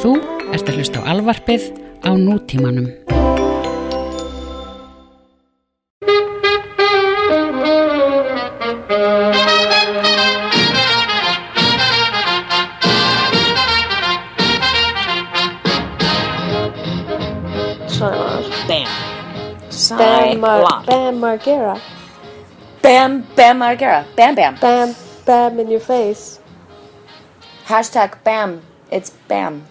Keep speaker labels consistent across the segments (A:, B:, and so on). A: Þú ert að hlusta á alvarpið á nútímanum.
B: Svona
C: Bam.
B: Bam Mar
C: Cylon.
B: Bam Margera
C: Bam, Bam Margera. Bam, Bam.
B: Bam Bam in your face
C: Hashtag Bam. It's Bam.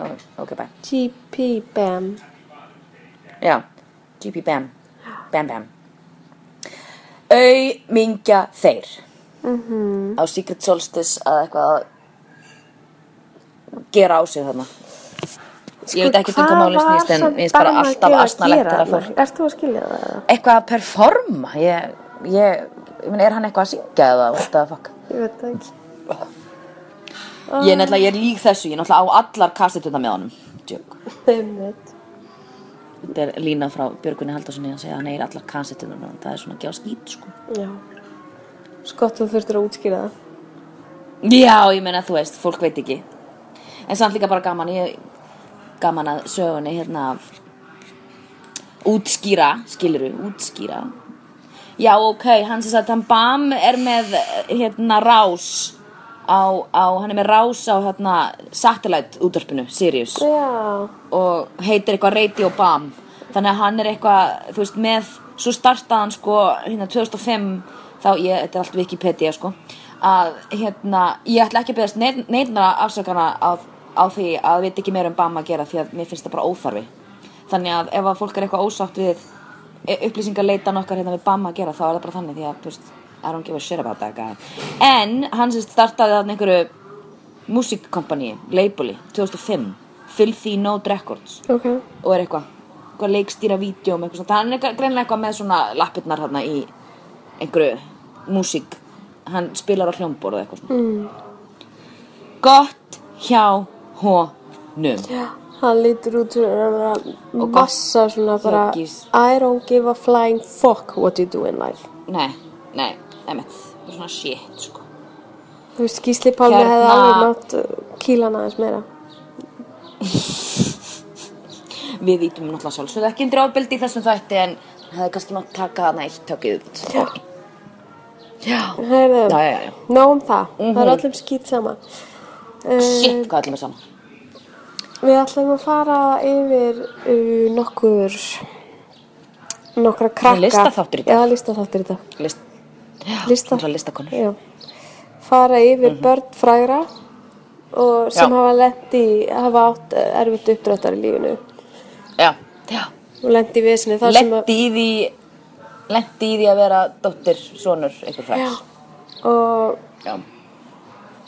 C: Oh, okay, bye.
B: GP Bam
C: Já, GP Bam. Bam, Bam. Auðmingja þeir. -hmm. Á Secret Solstice að eitthvað að gera á sig þarna.
B: Sko,
C: Ég veit ekki um hvað máli snýst en mér finnst bara alltaf asnalegt þegar fólk
B: Erst þú að skilja það? eða?
C: eitthvað að performa ég, ég, ég meina, er hann eitthvað að syngja eða what the fuck
B: Ég veit það ekki
C: ég er nefnilega, ég er lík þessu, ég er náttúrulega á allar kastituna með honum Djök.
B: Einmitt.
C: þetta er lína frá Björgunni Haldurssoni að segja að hann er allar kastituna með honum það er svona að gefa skýt sko
B: Já Skott þú þurftir að útskýra það
C: já, ég meina, þú veist, fólk veit ekki en samt líka bara gaman ég, gaman að sögunni hérna af- útskýra, skiluru, útskýra Já, ok, hann sem sagt, hann Bam er með, eh, hérna, rás á, á, hann er með rás á, hérna, satellite útvarpinu, Sirius
B: Já
C: og heitir eitthvað Radio Bam þannig að hann er eitthvað, þú veist, með svo startaði hann, sko, hérna, 2005 þá, ég, þetta er allt Wikipedia, sko að, hérna, ég ætla ekki að beðast neitt- neittna afsakana á, á því að við ekki meira um Bam að gera því að mér finnst það bara óþarfi þannig að ef að fólk er eitthvað ósátt við upplýsingarleitan okkar hérna við Bam að gera þá er það bara þannig því að, þú veist, I don't give a shit about that guy en hann sem sagt startaði þarna einhverju músikkompaníi, labeli, 2005 Filthy Note Records
B: Ok
C: og er eitthvað eitthvað leikstýra vídjum eitthvað svona, hann er eitthvað- greinilega eitthvað með svona lappirnar hérna í einhverju músík, hann spilar á hljómborð og eitthvað svona mm. gott hjá honum
B: Hann lítur út fyrir að vera massa svona bara
C: Joggis.
B: I don't give a flying fuck what you do in life
C: nei, nei, emitt það er svona shit sko
B: Þú veist, Gísli Pálmi
C: Hérna-
B: hefði alveg mátt uh, kýla hann aðeins meira
C: við vítum náttúrulega sjálfsögðu ekki undir ofbeldi í þessum þætti en hefði kannski mátt taka þarna eitt tökið út já, já,
B: Heyrðu,
C: já, já, já.
B: Nóg um það, það er
C: Mhm.
B: öllum skýt sama uh,
C: shit, hvað ætlum við saman
B: Við ætlum að fara yfir uh, nokkur nokkra krakka
C: listaþáttur í dag.
B: Já, listaþáttur í dag
C: list,
B: Lista-
C: náttúrulega listakonur Mhm.
B: Já. Fara yfir börn frægra og sem
C: Já.
B: hafa lent í hafa átt uh, erfitt uppdráttar í lífinu
C: já, já,
B: og lent í vesinni þar sem að
C: lendi í því lendi í því að vera dóttir, sonur, einhver fræks
B: og,
C: já,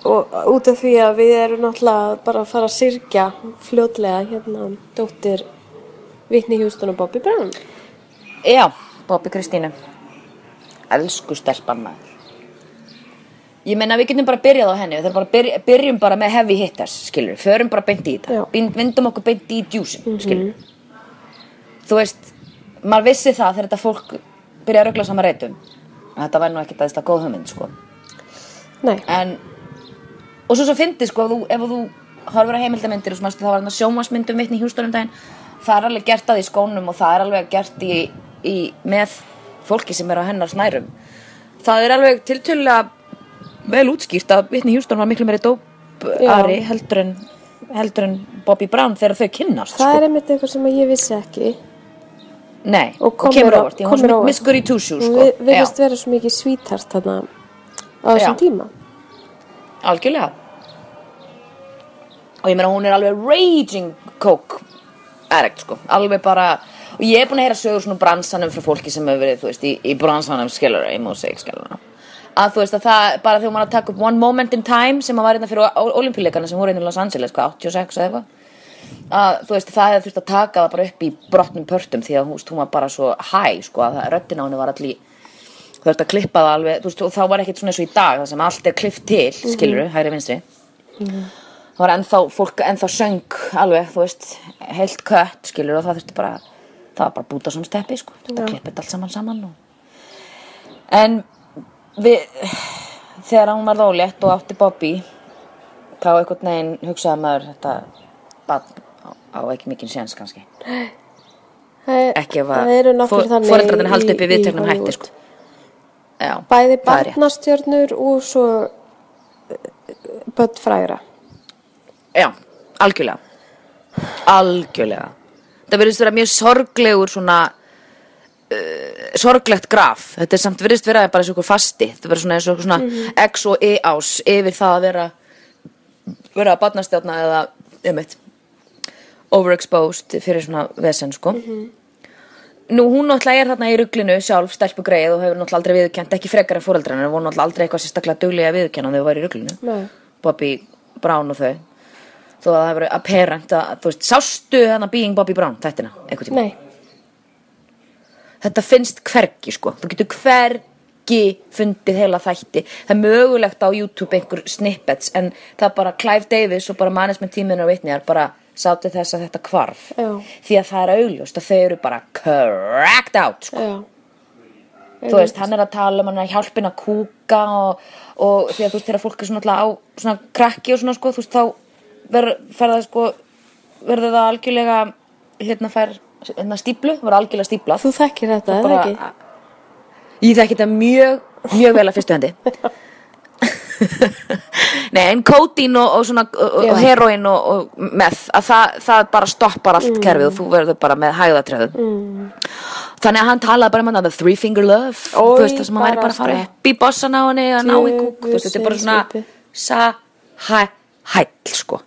B: og út af því að við erum náttúrulega bara að fara að syrkja fljótlega hérna dóttir Vittni Hjústun og Bobby Brown
C: já Bobbi Kristínu elsku stelpan maður ég meina við getum bara byrjað á henni við þurfum bara að byrja, byrjum bara með heavy hitters skilur, förum bara beint í
B: Já.
C: þetta Bind, vindum okkur beint í djúsin mm skilur þú veist, maður vissi það þegar þetta fólk byrja að rögla saman reytum að þetta væri nú ekkert aðeinslega góð hugmynd sko.
B: Nei,
C: en og svo svo fyndið sko, ef þú, ef þú horfur á heimildamindir og svo manstu, það var hann að sjómasmyndum vitni í hjústónum daginn, það er alveg gert að í skónum og það er alveg gert í, í með fólki sem er á hennar snærum það er alveg tiltölulega vel útskýrt að vitni hjústón var miklu meiri dópari heldur en, heldur en Bobby Brown þegar þau kynnast
B: það
C: sko.
B: er einmitt eitthvað sem að ég vissi ekki
C: Nei,
B: og
C: og
B: kom
C: kemur
B: mér á-
C: óvart, ég
B: kom
C: hún
B: mér
C: sem
B: óvart.
C: miskur í túsjú
B: Hún
C: sko.
B: vi- virðist
C: Já,
B: vera svo mikið svítart þarna á þessum
C: Já.
B: tíma
C: algjörlega og ég meina hún er alveg raging coke addict sko, alveg bara og ég er búin að heyra sögur svona úr bransanum frá fólki sem hefur verið, þú veist, í, í bransanum skellur, í músík skellur að þú veist að það, bara þegar maður að taka upp One Moment in Time sem að var hérna fyrir olimpíuleikana sem voru hérna í Los Angeles, hvað, 86 eða eitthvað að þú veist, það hefði þurft að taka það bara upp í brotnum pörtum því að þú veist, hún var bara svo hæ, sko, að röddina á henni var allir þú veist að klippa það alveg, þú veist, og þá var ekkert svona eins og í dag það sem allt er klift til, skilur hægri vinstri það var ennþá fólk, ennþá söng alveg, þú veist, heilt kött skilur og það þurfti bara, það var bara búta sem steppi, sko, þetta klippið allt saman saman og... en við þegar hún var rólétt og átti Bobby þá einhvern veginn hugsaði maður þetta barn á, á ekki mikinn séns kannski ekki ef að
B: það eru nokkur þannig
C: fóreldrarnir haldi
B: í-
C: upp í
B: í
C: viðteknum
B: Hollywood.
C: hætti sko. Já,
B: Bæði
C: það er rétt.
B: barnastjörnur og svo eh, börn frægra.
C: Já, algjörlega algjörlega það verðist vera mjög sorglegur svona uh, sorglegt graf þetta er samt verðist vera bara eins og ykkur fasti þetta verður svona eins og ykkur svona X og E ás yfir það að vera vera að barnastjárna eða einmitt, overexposed fyrir svona vesen sko Nú, hún náttúrulega er þarna í ruglinu sjálf stelpugreið og hefur náttúrulega aldrei viðurkjönt ekki frekar en fóreldrann en voru náttúrulega aldrei eitthvað sérstaklega duglega viðurkjönn þegar þau var í ruglinu
B: Nei.
C: Bobby Brown og þau þó að það hefur apparent að, þú veist, sástu hana Being Bobby Brown, þættina, einhvern tíma
B: Nei,
C: þetta finnst hvergi sko, þú getur hvergi fundið heila þætti það er mögulegt á YouTube einhver snippets en það er bara Clive Davis og bara management tíminn og vitniðar bara sátu þess að þetta hvarf
B: Já.
C: því að það er augljóst að þau eru bara cracked out sko.
B: já.
C: þú veist, hann er að tala um hann er hjálpin að kúka og, og því að þú veist, þegar fólk er svona alltaf á svona krakki og svona sko, þú veist, þá verður það sko, verður það algjörlega hérna fær hérna stíplu, verður algjörlega stíplað
B: Þú þekkir þetta, eða ekki?
C: Ég þekki þetta mjög, mjög vel að fyrstu hendi Nei, en kótín og, og, svona, og, og
B: Já.
C: heroin og, og meth að það, það bara stoppar
B: Mm.
C: allt kerfið og þú verður bara með hægðatreðum mm. Þannig að hann talaði bara um hann the three finger love
B: Oj,
C: þú veist það sem hann væri
B: bara
C: bara að fara
B: sko.
C: upp í bossan á henni að ná í kúk þú veist þetta er bara
B: Djöfusins
C: svona sæhæll sko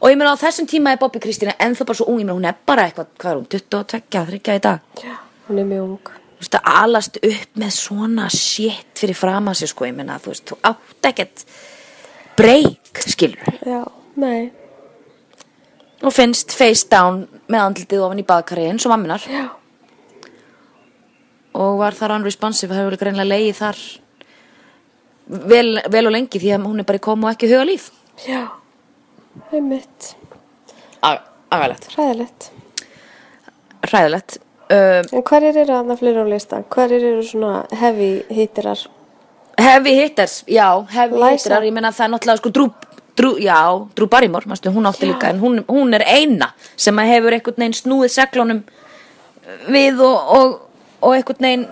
C: og ég meina á þessum tíma er Bobbi Kristína ennþá bara svo ung, ég meina hún er bara eitthvað, hvað er hún, 22, 23 í dag
B: Hún er mjög ung.
C: þú veist, að alast upp með svona shit fyrir fram að sér, sko, ég meina, þú veist, þú átt ekkert break, skilur.
B: Já, nei.
C: Og finnst face down með andlitið ofan í baðkari eins og mamminar. Já. Og var þar unresponsive, hefur vel greinlega leiði þar vel, vel og lengi því að hún er bara í kom og ekki huga líf.
B: Já, einmitt.
C: Agalegt.
B: Hræðilegt.
C: Hræðilegt. Um,
B: En hverjir eru aðna fleiri á listan? Hverjir eru svona heavy hittirar?
C: Heavy hitters, já, heavy
B: Liza.
C: hitters, ég meina það er náttúrulega sko drú, drú, já, drú Barrymore, manstu, hún átti líka, en hún, hún er eina sem að hefur einhvern veginn snúið seglunum við og, og, og einhvern veginn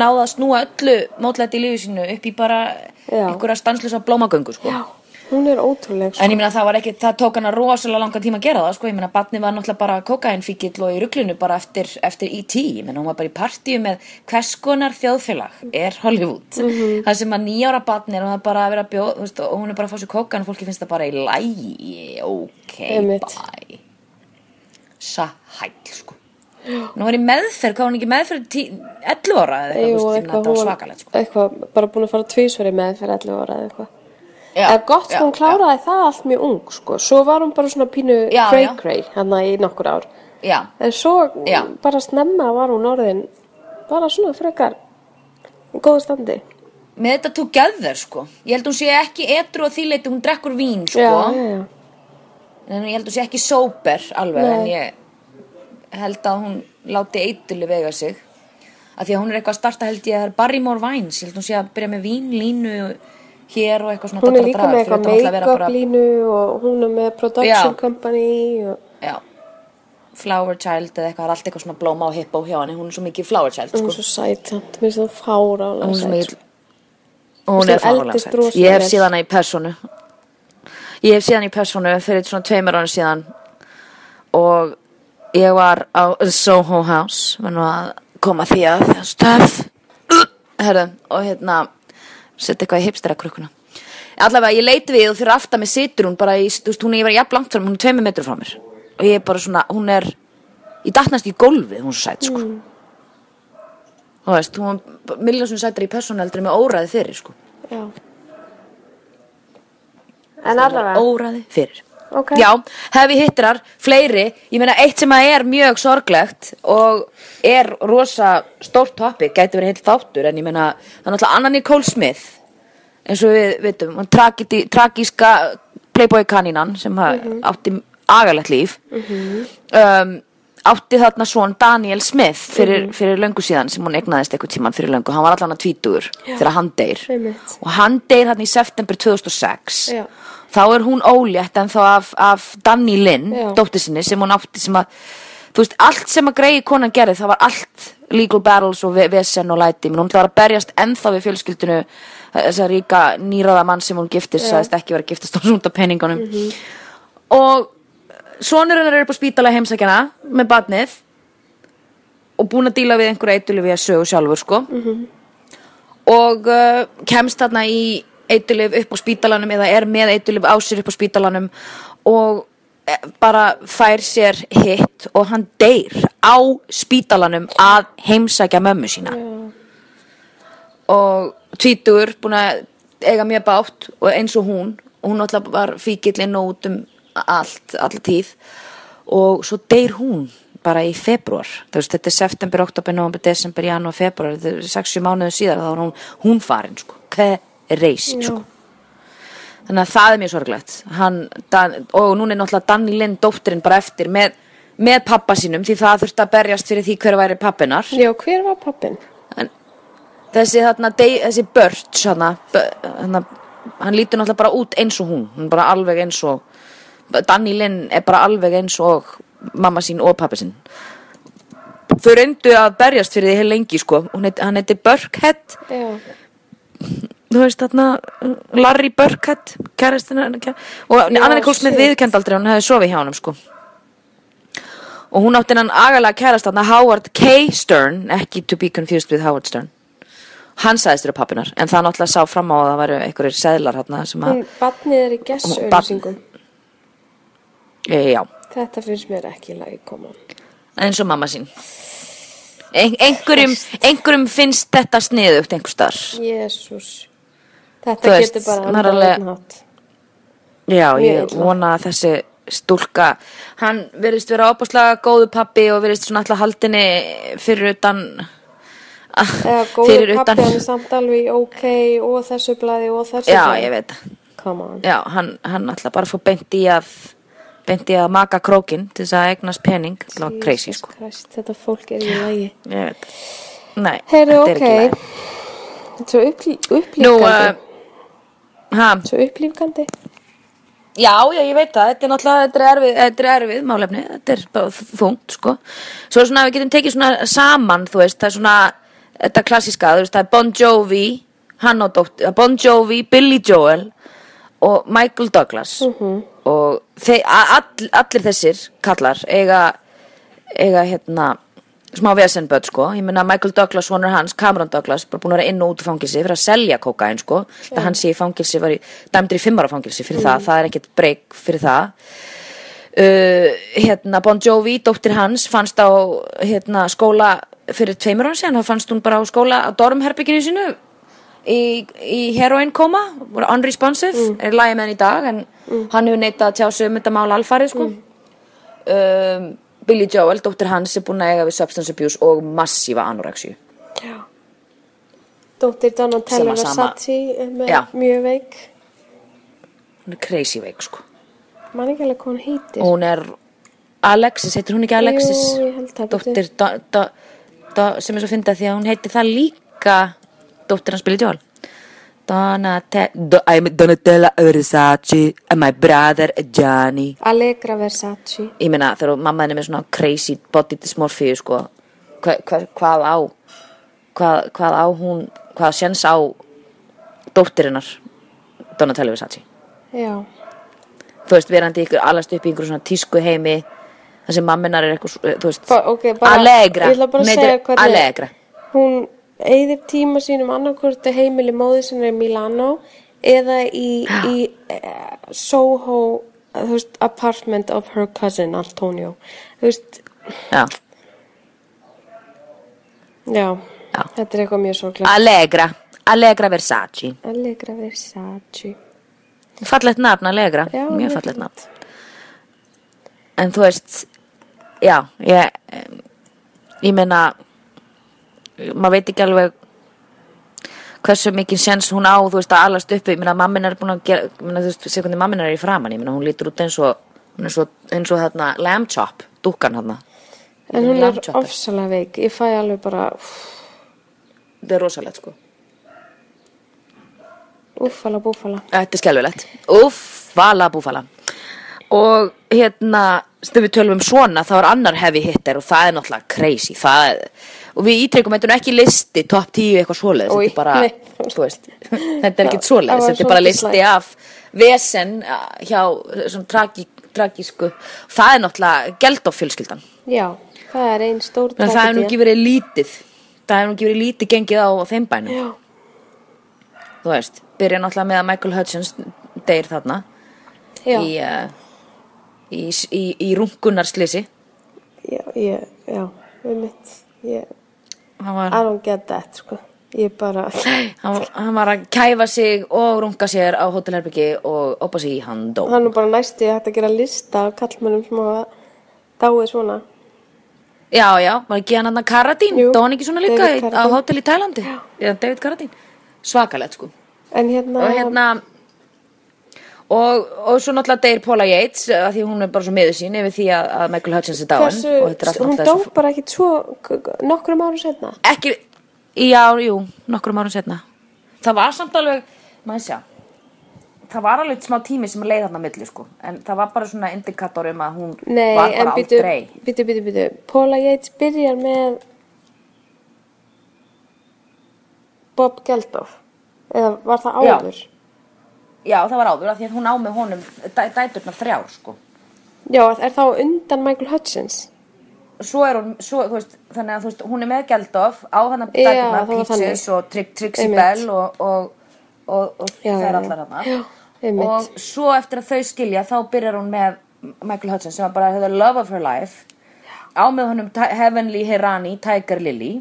C: náða að snúa öllu mótlætt í lífi sínu upp í bara
B: Já.
C: einhverja stanslösa blómagöngu, sko.
B: Já, hún er ótrúleg. sko.
C: En ég meina það var ekki, það tók hana rosalega langan tíma að gera það, sko, ég meina batni var náttúrulega bara kokainfíkill og í ruglinu bara eftir, eftir E.T. Ég meina hún var bara í partíu með hvers konar þjóðfélag er Hollywood.
B: Mhm.
C: Það sem að nýjára batni er hún er bara að vera að bjóð, þú veist, og hún er bara að fá sér kokain og fólki finnst það bara í lægi, ok,
B: Einmitt.
C: bye. Sæl, sko. Nú var ég meðferð, hvað var hún ekki í meðferð í tí- 11 ára eða eitthvað,
B: Jú,
C: þú veist, ég meina
B: eitthvað,
C: þetta var
B: hún
C: svakalegt, sko.
B: eitthvað, bara búin að fara tvísveri með fyrir 11 ára eða eitthvað.
C: Já,
B: Eða gott
C: já,
B: hún kláraði það allt mjög ung, sko. Svo var hún bara svona pínu
C: Já, já.
B: cray-cray hérna í nokkur ár.
C: Já,
B: En svo
C: Já.
B: bara snemma var hún orðin bara svona frekar í góðu standi.
C: með þetta together sko ég held hún sé ekki etru og þýleiti hún drekkur vín sko
B: Já, já, já.
C: en ég held hún sé ekki sober alveg
B: Nei.
C: en ég held að hún láti eitulu vega sig af því að hún er eitthvað að starta held ég að það er Barrymore Vines ég held hún sé að byrja með vínlínu hér og eitthvað svona
B: Hún er
C: dadra-
B: líka með
C: dadra- fyrir
B: eitthvað
C: utan náttúrulega að vera
B: make-up
C: bara-
B: línu og hún er með production
C: Já.
B: company og...
C: já, Flower Child eða eitthvað það er allt eitthvað svona blóma og hippo hjá henni hún er svo mikið Flower Child
B: Hún
C: sko
B: er svo sæt samt, mér finnst það fárálega
C: hún er svo
B: sæt.
C: mikið hún
B: Þú
C: er
B: veist, hún
C: fáránlega
B: eldist
C: sæt
B: rosalega
C: ég hef
B: vel.
C: síðan hana í personu ég hef síðan í personu fyrir svona tveimur ára síðan og ég var á Soho House var nú að koma því að það stöð Herðu, og hérna setja eitthvað í hipstera krukkuna allavega ég leit við og fyrir aftan mig situr hún bara í, þú veist, hún er, ég var jafn langt frá mér, hún er tveimur metru frá mér og ég er bara svona, hún er ég datnast í gólfið, hún er svo sæt sko þú veist, hún Miljónsson sættir í persónu heldur en með óræði fyrir sko.
B: Já. En allavega,
C: óræði fyrir
B: ok.
C: já, hefi hittirar, fleiri ég meina eitt sem að er mjög sorglegt og er rosa stórt topic, gæti verið heilt þáttur en ég meina, það er náttúrulega Anna Nicole Smith eins og við vitum hún tragedi, tragíska playboy kanínan sem mm
B: Mhm.
C: átti agalegt líf um, átti þarna svon Daniel Smith fyrir,
B: Mhm.
C: fyrir löngu síðan sem hún egnaðist eitthvað tíman fyrir löngu, hann var allan að tvítugur þegar hann deyr
B: Einmitt.
C: og hann deyr hann í september 2006
B: Já.
C: þá er hún ólétt en þá af, af Danny Lynn,
B: Já.
C: dóttir sinni sem hún átti sem að, þú veist, allt sem að greiði konan gerði, það var allt legal battles og ve- vesen og læti, menn hún ætlaði að berjast ennþá við fjölskyldinu þessa ríka nýraða mann sem hún giftist, sagðist ekki vera að giftast á svona peningunum og sonurinn er upp á spítala heimsækjana með badnið og búin að díla við einhverja eitulu við að sögu sjálfur sko og uh, kemst þarna í eitulif upp á spítalanum eða er með eitulif á sér upp á spítalanum og eh, bara fær sér hitt og hann deyr á spítalanum að heimsækja mömmu sína og tvítur búin að eiga mjög bátt og eins og hún og hún alltaf var fíkillinn og út um allt, alla tíð og svo deyr hún bara í februar, þú veist, þetta er september, oktober, november, desember, janúar, februar þetta er 6-7 mánuðu síðar, þá er hún, hún farin sko, hver reisi sko þannig að það er mjög sorglegt hann, Dan, og núna er náttúrulega Danny Linn dóttirinn bara eftir með, með pappa sínum því það þurfti að berjast fyrir því hver væri pappinar
B: Já, hver var pappin?
C: þessi, þarna, dey, þessi börts hana, hana, hann lítur náttúrulega bara út eins og hún hann er bara alveg eins og Danny Linn er bara alveg eins og mamma sín og pappi sín þau reyndu að berjast fyrir því heil lengi sko, Hún heit, hann heiti Burkhead
B: Já,
C: þú veist þarna uh, Larry Burkett kærastina kæ... og
B: Já,
C: Anna Nicole Smith
B: shit.
C: viðkend aldrei að hún hefði sofið hjá honum sko og hún átti hennan agalega kærast þarna Howard K. Stern ekki to be confused with Howard Stern hann sagðist þér pappinar en það náttúrulega sá fram á að það væru einhverjir seðlar þarna sem að,
B: hún, badnið er í
C: Hún-
B: gessauðlýsingum.
C: e, já,
B: Þetta finnst mér ekki í lagi koma.
C: eins og mamma sín Ein, einhverjum, einhverjum finnst þetta sniðugt einhver starf
B: Jésús.
C: Þú
B: Þetta
C: veist,
B: getur bara
C: maður
B: endað á
C: alveg-
B: einn hátt.
C: Já,
B: Mjög
C: ég
B: illa.
C: vona að þessi stúlka, hann verðist vera opaslega góðu pappi og verðist svona alltaf haldinni fyrir utan
B: Eða góður pappi hann er samt alveg í ok og þessu blaði og þessu
C: Já,
B: blaði.
C: ég veit það.
B: Come on.
C: Já, hann, hann alltaf bara fór beint í að beint í að maka krókin til þess að eignast pening, það var crazy
B: Jesus
C: sko
B: Christ, þetta fólk er í lagi.
C: Ég veit það. Nei,
B: Heyrðu,
C: þetta er
B: ok.
C: ekki læg
B: Þetta er svo upp,
C: Nú,
B: upplýfgandi.
C: uh, ha,
B: svo upplýfgandi.
C: Já, já, ég veit það, þetta er náttúrulega, þetta er erfið, þetta er erfið málefni, þetta er bara þungt, sko. Svo svona, við getum tekið svona saman, þú veist, það er svona, þetta klassíska, þú veist, það er Bon Jovi, hann og dótt, eh, Bon Jovi, Billy Joel og Michael Douglas. Og þe- a- all, allir þessir kallar eiga, eiga, hérna, smá vesenböld, sko. Ég meina, Michael Douglas, sonur hans, Cameron Douglas, bara búin að vera inn og út í fangilsi fyrir að selja kókain, sko. Það hann sé í fangilsi, var í, dæmdur í fimmara fangilsi fyrir það, það er ekkert breyk fyrir það uh, hérna Bon Jovi, dóttir hans fannst á hérna, skóla fyrir tveimur hann síðan, þá fannst hún bara á skóla á dormherbygginu sínu í, í heroin koma, voru unresponsive er lægi með hann í dag en hann hefur neitað að tjá sig um þetta mál alfarið sko. um, Billy Joel, dóttir hans er búin að eiga við substance abuse og massífa anoreksíu
B: Dóttir Donatella
C: Sem að sama-
B: Versace er með
C: Já.
B: mjög veik.
C: hún er crazy veik sko
B: Man ekki alveg hvað hún heitir.
C: og hún er Alexis, heitir hún ekki Alexis
B: Jú, ég held það,
C: dóttir do, do, do, sem er svo fyndið því að hún heitir það líka dóttir hans Billy Joel Donate- Do- I'm Donatella Versace and my brother Gianni
B: Allegra Versace.
C: ég meina þegar mamma henni er með svona crazy body dysmorphia sko hva, hva, hvað á hvað, hvað á hún, hvað séns á dóttirinnar Donatella Versace
B: Já.
C: þú veist, verandi ykkur alast upp í einhverjum svona tísku heimi þar sem mamminar er eitthvað, svo- eh, þú veist
B: Ba- ok, bara-
C: Allegra,
B: ég ætla bara að
C: hún
B: segja hvernig-
C: Allegra
B: Hún eyðir tíma sínum annarkvörtu heimili móði sem er í Milano eða í, í uh, Soho uh, þú veist, apartment of her cousin Antonio. Þú veist,
C: já,
B: já,
C: Já.
B: þetta er eitthvað mjög sorglega.
C: Allegra, Allegra Versace
B: Allegra Versace.
C: fallegt nafn Allegra,
B: Já,
C: mjög
B: mjög
C: fallegt
B: fínt.
C: nafn en þú veist já, ég em, ég meina maður veit ekki alveg hversu mikið sens hún á þú veist að alast uppi, ég meina mamminar er búin að gera, ég meina þú veist, sé hvernig mamminar er í framan ég meina hún lítur út eins og hún er svo, eins og þarna lamb chop, dúkkan þarna
B: En hún er
C: Lambchopper.
B: ofsalega veik. Ég fæ alveg bara,
C: Þetta er rosalegt sko.
B: uffala búfala.
C: Þetta er skelvilegt. Uff, búfala, búfala og hérna þegar við tölum um svona þá er annar heavy hitter og það er náttúrulega crazy það er, og við ítrekum, þetta er nú ekki listi top 10 eitthvað svoleiðis
B: Oj,
C: þetta er bara,
B: nei.
C: þú veist þetta er
B: Það-
C: ekkert
B: það
C: svoleiðis,
B: var
C: þetta er bara
B: svolítið
C: listi
B: slæmt.
C: af vesen eh, hjá eh, svona tragi, tragísku það er náttúrulega geld á fjölskyldan
B: Já, það er einn stór
C: en það er nú
B: tragedía.
C: ekki verið lítið það er nú ekki verið lítið gengið á, á þeim bænum
B: Já,
C: þú veist, byrja náttúrulega með að Michael Hutchins deyr þarna
B: já,
C: í, uh, í, í, í rungunarslisi
B: já, já, já, við mitt, ég,
C: hann
B: I
C: var,
B: don't get that, sko, ég bara,
C: hann, var- hann var að kæfa sig og runga sér á hótelherbyggi og opa sig í hann dó
B: það er nú bara næstu ég hætti að gera lista af kallmönnum sem hafa dáið svona.
C: já, já, var ekki hann hann Karadín
B: Jú,
C: dó hann ekki svona líka
B: David
C: í- á
B: Carradine.
C: hótel í Tælandi já, David Karadín, svakalegt sko
B: En hérna,
C: og hérna og, og svo náttúrulega deyr Paula Yates að því hún er bara svo miður sín yfir því að, að Michael Hutchins er dáin
B: hversu,
C: og þetta er allt
B: hún
C: náttúrulega
B: dó
C: svo-
B: bara ekki svo, nokkrum árum setna.
C: ekki, já, jú, nokkrum árum setna það var samt alveg, maður sjá það var alveg smá tími sem leið þarna á milli sko, en það var bara svona indikator um að hún
B: Nei,
C: var
B: en
C: bara
B: býtu,
C: aldrei
B: býtu, býtu, býtu, Paula Yates byrjar með Bob Geldof, eða var það
C: Já.
B: áður?
C: já, það var áður, af því að hún á með honum dæ, dæturnar þrjár, sko
B: Já, er þá undan Michael Hutchins?
C: svo er hún, svo, þú veist, þannig að þú veist, hún er með Geldof á hann
B: Já,
C: dæturnar,
B: það var
C: Peaches
B: þannig.
C: og Trig, Trixie
B: Einmitt.
C: Bell og, og, og, og
B: Já, já,
C: þær
B: já.
C: allar hann
B: Já, einmitt.
C: og svo eftir að þau skilja þá byrjar hún með Michael Hudson sem var bara the love of her life á með honum Ti- Heavenly Hirani Tiger Lily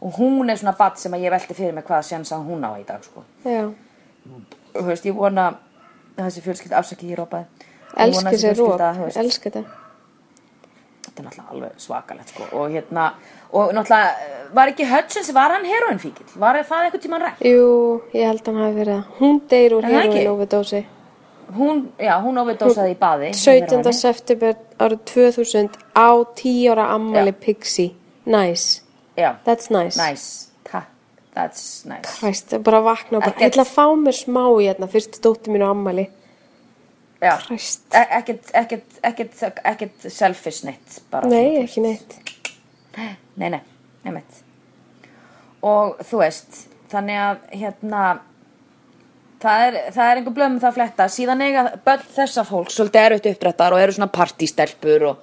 C: og hún er svona bat sem að ég velti fyrir mig hvaða sjans að hún á í dag sko.
B: Já.
C: þú veist, ég vona að þessi fjölskylda afsaki ég rópaði Ég vona
B: Elski
C: að þessi
B: sér róp,
C: fjölskylda, þú veist,
B: elski þetta.
C: þetta er náttúrulega alveg svakalegt sko. og hérna, og náttúrulega eh, var ekki Hudson, var hann heroinfíkil var það eitthvað tímann rætt
B: Jú, ég held að hann hafi verið það. Hún deyr úr
C: Er það ekki?
B: heroin overdósi.
C: hún, já, hún overdósaði í baði
B: 17.
C: heroini.
B: september árið 2000 á 10 ára ammali Pixie. Nice.
C: já,
B: That's nice.
C: nice, Ta- that's nice
B: Christ, ég bara vakna og bara,
C: Ekkert-
B: ég ætla að fá mér smá í hérna, fyrstu dóttir mínu ammali.
C: Já.
B: Christ.
C: E- ekkert, ekkert, ekkert, ekkert selfish neitt bara
B: Nei, ekki neitt.
C: nei, nei, einmitt og þú veist þannig að hérna það er, það er einhver blöð með það að fletta síðan eiga börn þessa fólk svolítið eru þetta upprættar og eru svona partystelpur og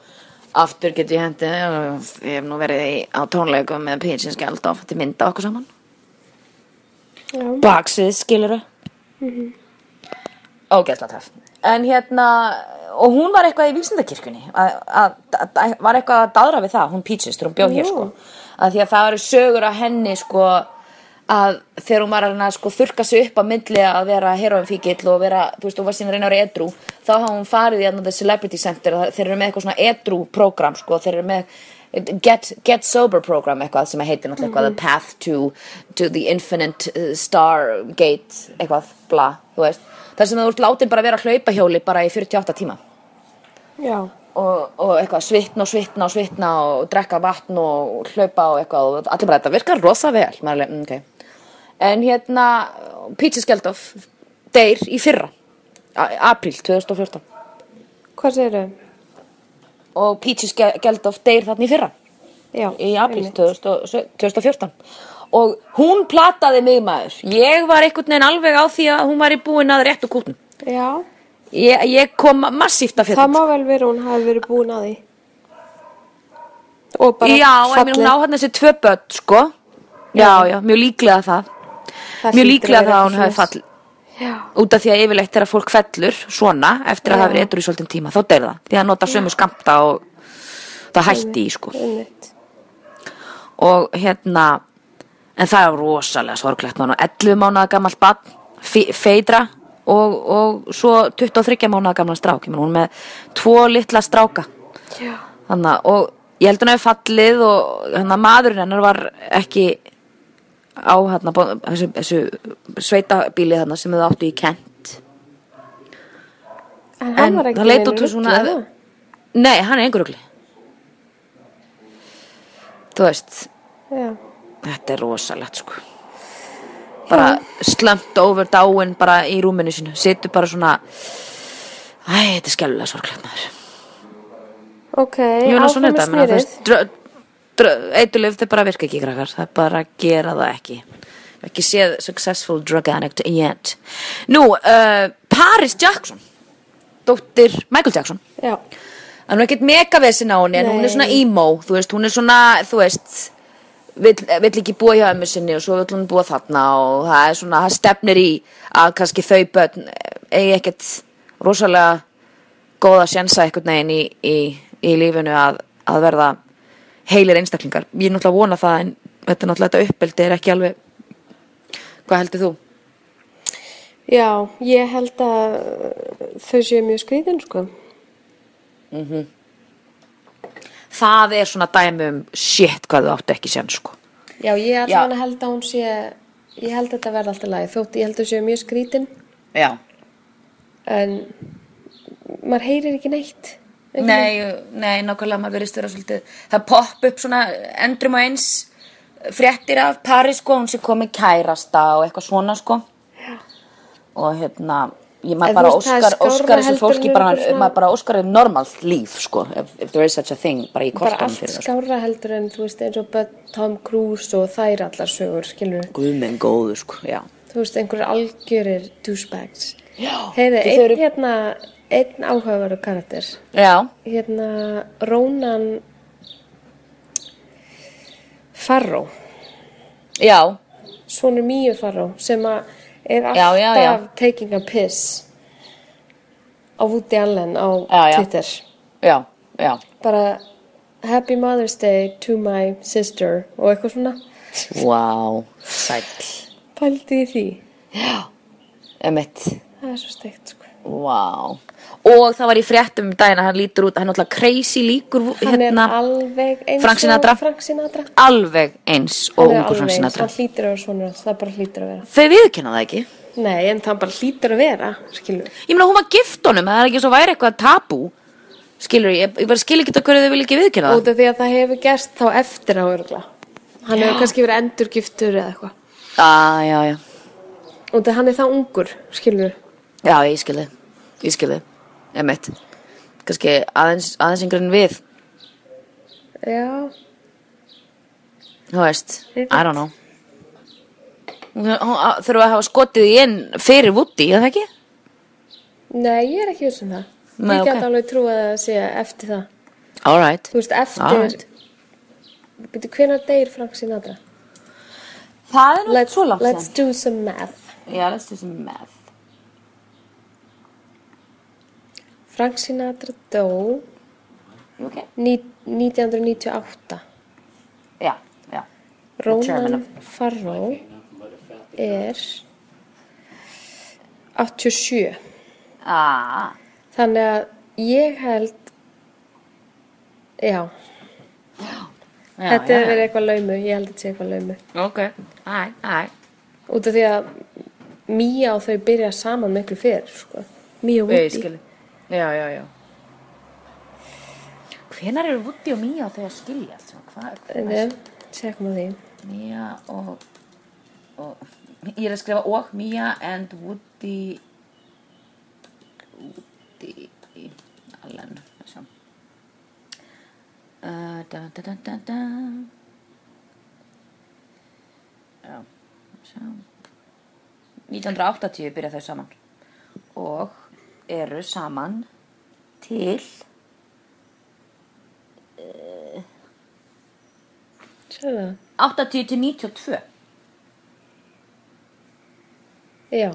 C: aftur getur ég hendi ég hef nú verið í, á tónleikum með Pinsins Gjaldof til mynda okkur saman
B: Já. Mhm.
C: baksvið, skilur þau ógæsla töff en hérna, og hún var eitthvað í vísindakirkunni að- að- að- var eitthvað að daðra við það, hún Peaches þegar hún bjóð hér
B: Nú.
C: sko að því að það eru sögur af henni sko að þegar hún var að reyna að sko þurka sig upp að myndli að vera heroinfíkill og vera, þú veist, hún var síðan að reyna að vera edru þá hafa hún farið í hérna The Celebrity Center og þeir eru með eitthvað svona edru program sko, þeir eru með Get, get Sober program eitthvað sem heitir náttúrulega eitthvað The Path to, to the Infinite uh, Star Gate eitthvað, bla, þú veist þar sem þú ert látin bara að vera á hlaupahjóli bara í 48 tíma
B: Já.
C: og, og eitthvað svitna og svitna og svitna og drekka vatn og hlaupa og eitthvað og allir bara þetta virkar rosa vel Maður er alveg, "Mm, okay. en hérna Pítsi Skeldof deyr í fyrra a- apríl 2014
B: Hvað segir þau?
C: og Pítsi Skeldof deyr þarna í fyrra
B: Já.
C: í apríl
B: einmitt.
C: 2000 2014 og hún plataði mig maður ég var einhvern veginn alveg á því að hún var í búin að réttu kútnum
B: Já.
C: ég, ég kom massíft af
B: Það
C: fjöldum
B: má vel vera hún hafi verið búin að því. Og bara
C: já, ég meina hún á hann þessi tvö börn sko já, já, mjög líklega það,
B: Það hlýtur
C: mjög
B: að
C: líklega
B: vera
C: það
B: eitthvað
C: að hún hafi
B: svoleiðis.
C: fall út af því að yfirleitt þegar fólk fellur svona eftir að
B: Já.
C: hafa verið eitthvað í svolítinn tíma þá deyr það, því að nota sömu skamta og það hætti í sko
B: Einmitt.
C: og hérna en það er rosalega sorglegt mánu 11 mánuða gamalt barn, fe- feidra og, og svo 23 mánuða gamla strák, ég meina hún er með tvo litla stráka
B: Já.
C: Þannig að, og ég held hún hefði fallið og þannig að maðurinn hennar var ekki á hérna, bó- þessu, þessu sveitabíli þarna sem þau áttu í Kent.
B: En hann var ekki
C: það leit
B: neinu
C: út fyrir svona...
B: rugli, eða?
C: Nei, hann er einhver rugli. Þú veist,
B: Já.
C: þetta er rosalegt sko. Bara slömmt over dáin bara í rúminu sínu, situr bara svona Æ, þetta er skellulega sorglegt maður.
B: Ok,
C: Jónas svona
B: áfram með
C: þetta, ég meina, þú
B: smýrið.
C: veist, drö- drö- eiturlyf, þeir bara virka ekki, krakkar, það er bara að gera það ekki. Ég hef Ekki séð successful drug addict yet. Nú, uh, Paris Jackson, dóttir Michael Jackson,
B: Já,
C: hann er ekkert megavesin á henni, en hún er
B: Nei.
C: svona emo, þú veist, hún er svona, þú veist, vill, vill ekki búa hjá ömmu sinni og svo vill hún búa þarna og það er svona, það stefnir í að kannski þau börn eh, eigi ekkert rosalega góða sjensa einhvern veginn í, í, í lífinu að, að verða heilir einstaklingar. Ég er náttúrulega vona það en þetta er náttúrulega þetta uppbeldi er ekki alveg, hvað heldur þú?
B: já, ég held að uh, þau séu mjög skrýðin, sko.
C: Það er svona dæmi um shit hvað þú áttu ekki sjens sko.
B: Já, ég er
C: Já.
B: allan að held að hún sé, ég held að þetta verði alltaf lagi. Þótt, ég held að þau séu mjög skrýtin,
C: Já.
B: en maður heyrir ekki neitt.
C: Nei, nei, nákvæmlega maður verðist vera svolítið Það popp upp svona endrum og eins fréttir af Paris sko, hún sem komið kærasta og eitthvað svona sko og hérna ég,
B: En
C: maður
B: þú
C: bara
B: veist, það er
C: óskar,
B: skárra
C: óskar þessu
B: heldur
C: fólki
B: en
C: bara,
B: eitthvað svona-
C: maður bara óskar um normalt líf sko, if, if there is such a thing bara í
B: Bara
C: kortum
B: allt
C: fyrir það sko.
B: skára heldur en, þú veist, eins og börn Tom Cruise og þær allar sögur, skilur
C: Guð minn góður sko, já
B: Þú veist, einhverjir algjörir douchebags.
C: Já,
B: Heiði,
C: því þau
B: einn
C: eru-
B: hérna, einn áhugaveru karakter.
C: Já,
B: hérna Rónan Farró
C: já,
B: svonur Míu Farró sem að er
C: Já,
B: alltaf
C: já, já.
B: taking a piss á Woody Allen á
C: Já, já.
B: Twitter
C: já, já
B: bara Happy Mother's Day to my sister og eitthvað svona
C: Wow, sæll
B: pældi í því
C: Já, emitt
B: það er svo steikt sko
C: Vá. Og það var í fréttum um daginn að hann lítur út, hann er náttúrulega crazy líkur
B: hann
C: hérna,
B: er alveg eins
C: Frank Sinatra.
B: og Frank Sinatra
C: alveg eins og
B: Hann er
C: ungur
B: alveg
C: Frank
B: eins,
C: Sinatra.
B: hann hlýtur að vera svona það bara hlýtur að vera
C: Þau viðkenna það ekki.
B: nei en það bara hlýtur að vera skilur
C: Ég meina, hún var gift honum, það er ekki svo væri eitthvað tabú. Skilur ég, ég bara skil ekki þetta hverju þau vil ekki viðkenna það.
B: út af því að það hefur gerst þá eftir á örgla hann hefur kannski verið endurgiftur eða eitthvað
C: Á, já, já.
B: út af hann er það ungur, skilur
C: Já, ég skil þið. Ég skil þið. Emitt. Kannski aðeins, aðeins yngri en við.
B: já,
C: Þú veist, I
B: Ég veit.
C: don't know. Hún- hún- Þurfa að hafa skotið í inn fyrir Woody, eða ekki?
B: nei, ég er ekki viss um það
C: Nei,
B: ég
C: ok.
B: get alveg trúið að það sé eftir það
C: All right.
B: þú veist, eftir
C: Alright.
B: right. byrju, hvenær deyr Frank Sinatra?
C: Það er nú
B: Let's,
C: svo langt
B: let's do some math
C: Yeah, let's do some math.
B: Frank Sinatra dó
C: You okay?
B: ní- 1998
C: Yeah, yeah.
B: Rónan Farró er 87
C: Ah,
B: Þannig að ég held Já,
C: já,
B: þetta
C: já,
B: hefur verið eitthvað laumu Ég held að þetta sé eitthvað laumu
C: já. Ok, alright, alright.
B: Út af því að Mía og þau byrja saman miklu fyrr sko. Mía og
C: Ég
B: Woody
C: skilji. Já, já, já. Hvenar eru Woody og Mía þau að skilja allt svona? Hvað
B: En
C: er
B: þau, segjum að því
C: Mía og, og... Ég er að skrifa og Mía and Woody... Woody... Allen. Sjá. Uh, da, da, da, da, da. Já, sjá. 1980 byrja þau saman og eru saman til
B: Sérðu það?
C: 80 til 92
B: Já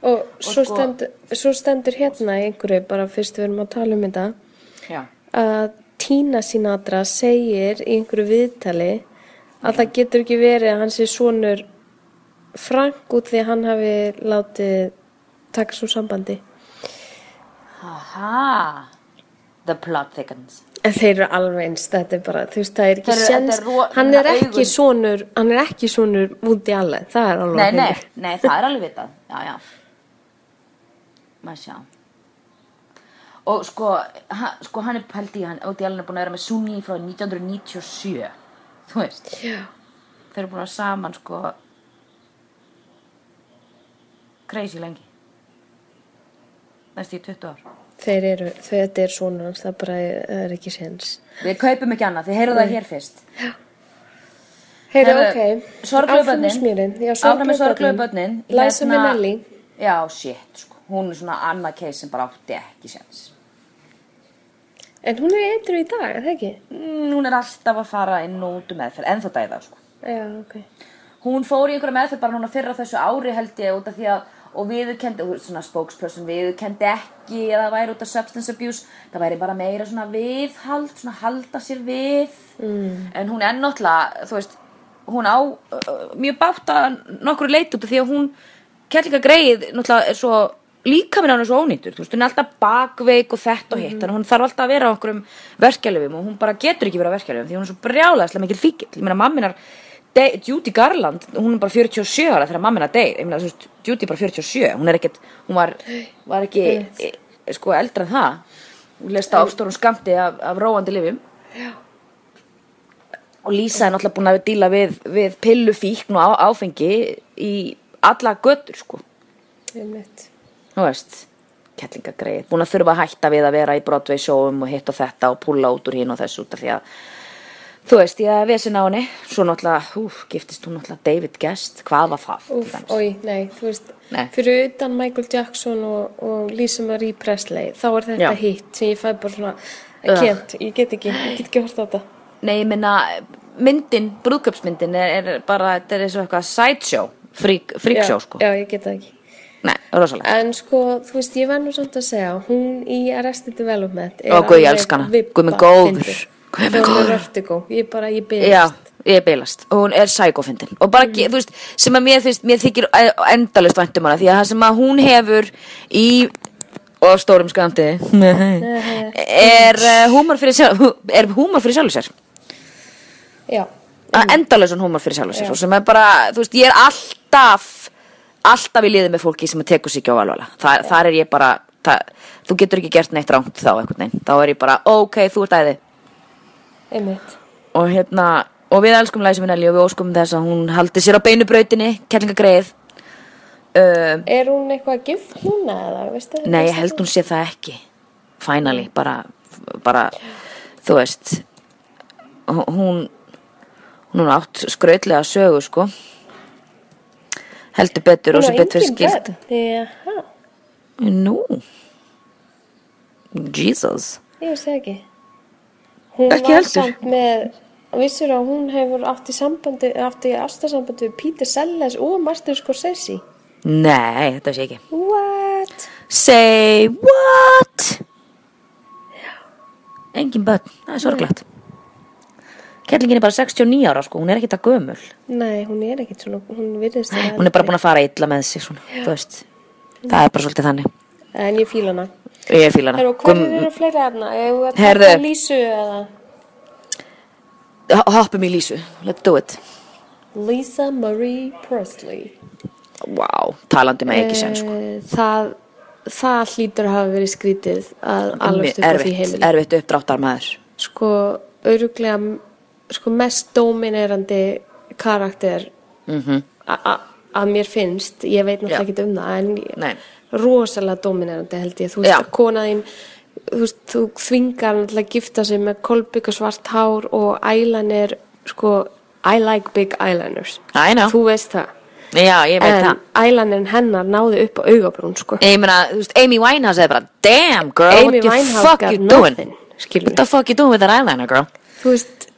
B: Og, svo,
C: sko-
B: stendur, svo stendur hérna í einhverju bara fyrst við erum að tala um þetta
C: Já.
B: að Tina Sinatra segir í einhverju viðtali að það getur ekki verið að hann sé sonur Frank út því að hann hafi látið taka svo sambandi.
C: Aha The plot thickens
B: En þeir eru alveg eins, þetta er bara, þú veist, það er ekki
C: Þeir eru-
B: séns,
C: þetta er ro-
B: hann er
C: augun-
B: ekki sonur, hann er ekki sonur Woody Allen, það er alveg
C: Nei,
B: á
C: nei,
B: hreinu.
C: nei, það er alveg vitað Já, já Maður sjá Og sko, ha, sko hann er held í hann Óti Allen er búin að vera með Sunni frá 1997 Þú veist
B: Já,
C: Þeir eru búin að vera saman sko Crazy lengi Næstu í 20 ár
B: þeir eru, þau, þetta er svona hans, það bara er, það er ekki séns.
C: Við kaupum ekki annað, þið heyrðu það hér fyrst.
B: Heyrðu,
C: Heyrðu,
B: ok.
C: sorglegu
B: Áfram með
C: börnin.
B: smjörinn. Já,
C: Áfram með sorglegu börnin.
B: Læsa
C: Hérna-
B: með Nelly.
C: Já, shit, sko. Hún er svona annað case sem bara átti ekki séns.
B: En hún er eitru í dag, er það ekki?
C: Mm, Hún er alltaf að fara inn og út um meðferð, en þá dæða, sko.
B: Já, ok.
C: Hún fór í einhverja meðferð bara núna fyrra þessu ári held ég út af því að og viðurkendi, og svona spokesperson viðurkendi ekki að það væri út af substance abuse það væri bara meira svona viðhald svona halda sér við mm. en hún er náttúrulega, þú veist hún á uh, uh, mjög bátt að nokkru leit út af því að hún kærleika greið, náttúrulega er svo líka minn hann er svo ónýtur, þú veist, hún er alltaf bakveik og þetta og hitt, þannig að hún þarf alltaf að vera á okkur um verkjalöfum og hún bara getur ekki verið á verkjalöfum því hún er svo brjálæðislega mikil fíkil ég meina mamminar, Judy Garland hún er bara 47 ára þegar mamminar deyr ég meina, þú veist, Judy er bara 47 hún er ekkert, hún var, var ekki e, e, sko eldra en það hún lest á stórum skamti af, af róandi lifum og Lísa er náttúrulega búin að díla við, við pillufíkn og á, áfengi í alla götur sko
B: Einmitt.
C: þú veist, kettlingagreið búin að þurfa að hætta við að vera í Broadway showum og hitt og þetta og púla út úr hinn og þessu út af því að þú veist, ég að vesen á henni svo náttúrulega, hú, giftist hún náttúrulega David Guest, hvað var það? til
B: Úf,
C: dæmis?
B: oi, nei, þú veist,
C: Nei.
B: fyrir utan Michael Jackson og, og Lisa Marie Presley, þá er þetta
C: Já.
B: hitt sem ég fæ bara svona,
C: Ugh.
B: I can't, ég get ekki, ég get ekki hort á þetta.
C: Nei, ég minna, myndin, brúðköpsmyndin er, er bara, þetta er eins og eitthvað sideshow, freak, freak
B: Já,
C: show sko
B: Já, ég get það ekki.
C: Nei, rosalega
B: En sko, þú veist, ég var nú samt að segja, hún í Arrested Development er
C: Ó, guð, ég
B: alveg
C: elska hana.
B: vibba
C: Guð minn góður.
B: fyndin. Og
C: Guð minn
B: hún er
C: góður.
B: Vertigo, ég bara, ég byrjast.
C: Já, ég beilast og hún er sækofindin og bara, mm. þú veist, sem að mér finnst, mér þykir e- endalist væntum um hana því að það sem að hún hefur í og af stórum skamti er eh, húmor fyrir sjálf er húmor fyrir sjálf sér
B: Já,
C: endalösun húmor fyrir sjálf sér og sem er bara, þú veist, ég er alltaf alltaf í liði með fólki sem tekur sig ekki á alveg Þa, þar er ég bara, það, þú getur ekki gert neitt rámt þá einhvern veginn, þá er ég bara ok, þú ert æði
B: einmitt.
C: og hérna og við elskum Læsi Minnelli og við óskum þess að hún haldi sér á beinu brautinni, kellingagreið uh,
B: Er hún eitthvað gift núna eða, veistu?
C: nei, ég held hún sé það ekki finally, bara, bara þú veist hún hún er átt skrautlega sögu sko heldur betur og sem betur skilt
B: Jaha,
C: nú Jesus
B: ég veist það ekki. Hún
C: Ekki
B: var
C: heldur.
B: samt með, vissir að hún hefur átt í sambandi, átt í ástasambandi við Peter Sellers og Martin Scorsese.
C: nei, þetta sé ekki
B: What?
C: Say what? Engin börn, það er sorglegt. Kerlingin er bara 69 ára sko, hún er ekkert að gömul.
B: Nei, hún er ekkit svona, hún virðist það.
C: Hún er bara búin að fara illa með sig svona, þú veist. Það er bara svolítið þannig.
B: En ég fíla hana.
C: Ég fíla hana.
B: Herru, hverjir eru fleiri hérna? Eigum við að
C: Heyrðu.
B: taka Lísu eða?
C: Gumm- Hoppum í lísu, let's do it.
B: Lisa Marie Presley.
C: Wow, talandi með ekki sen sko.
B: Eh, Það, það hlýtur að hafa verið skrítið að alveg upp á því
C: Erfitt,
B: heimili.
C: erfitt uppdráttar maður.
B: Sko, öruglega, sko mest dominerandi karakter a- a- að mér finnst, ég veit náttúrulega
C: Mhm. Já.
B: ekki um það, en
C: Nei.
B: rosalega dominerandi held ég, þú veist
C: Já.
B: að kona þín þú veist, þú þvingar hann til að gifta sig með kolbygg og svart hár og eyeliner, sko I like big eyeliners
C: I know.
B: þú veist það
C: Já, ég veit
B: en
C: það.
B: eyelinerin hennar náði upp á augabrún sko
C: Ég meina, þú veist, Amy Winehouse er bara, damn girl,
B: Amy
C: what the
B: Winehouse
C: fuck
B: got
C: you doing?
B: nothing, skilurðu.
C: What the fuck you doing with that eyeliner, girl?
B: þú veist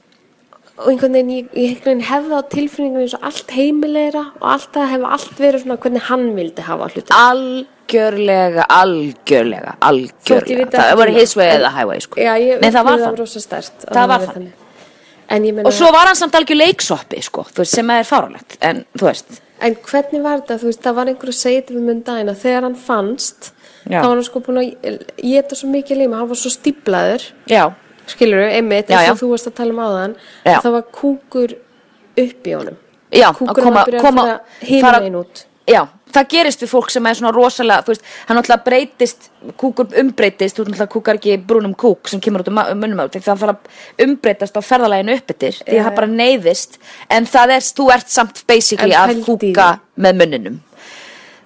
B: og einhvern veginn, ég, ég einhvern veginn hefði á tilfinningum eins og allt heimilegra og allt það hefði allt verið svona hvernig hann vildi hafa hluti
C: algjörlega, algjörlega,
B: Þótt ég
C: algjörlega
B: viti
C: það
B: ekki
C: voru
B: um
C: his way
B: það.
C: eða highway sko.
B: Já, ég
C: Nei, það var
B: upplifði
C: það
B: rosa stært
C: Það var það.
B: En ég meina,
C: og svo var hann samt algjör leiksoppi sko, þú veist, sem er fáránlegt en þú veist,
B: en hvernig var þetta, þú veist, það var einhver að segja þetta við mun dæna, þegar hann fannst
C: Já.
B: þá var hann sko búin að geta svo mikið líma, hann var svo stíplaður
C: já,
B: skilur við, einmitt,
C: Já,
B: eins
C: já.
B: og þú varst að tala um áðan
C: Já.
B: það var kúkur upp í honum
C: já að
B: kúkur var að byrja að fara hinum
C: fara-
B: einn út
C: já, það gerist við fólk sem er svona rosalega þú veist, hann náttúrulega breytist kúkur umbreytist, þú náttúrulega kúkar ekki brúnum kúk sem kemur út um munum át þannig að hann fara umbreytast á ferðalæginu uppbyttir því að það bara neyðist en það er, þú ert samt basically
B: En
C: að
B: pældu í
C: kúka með munninum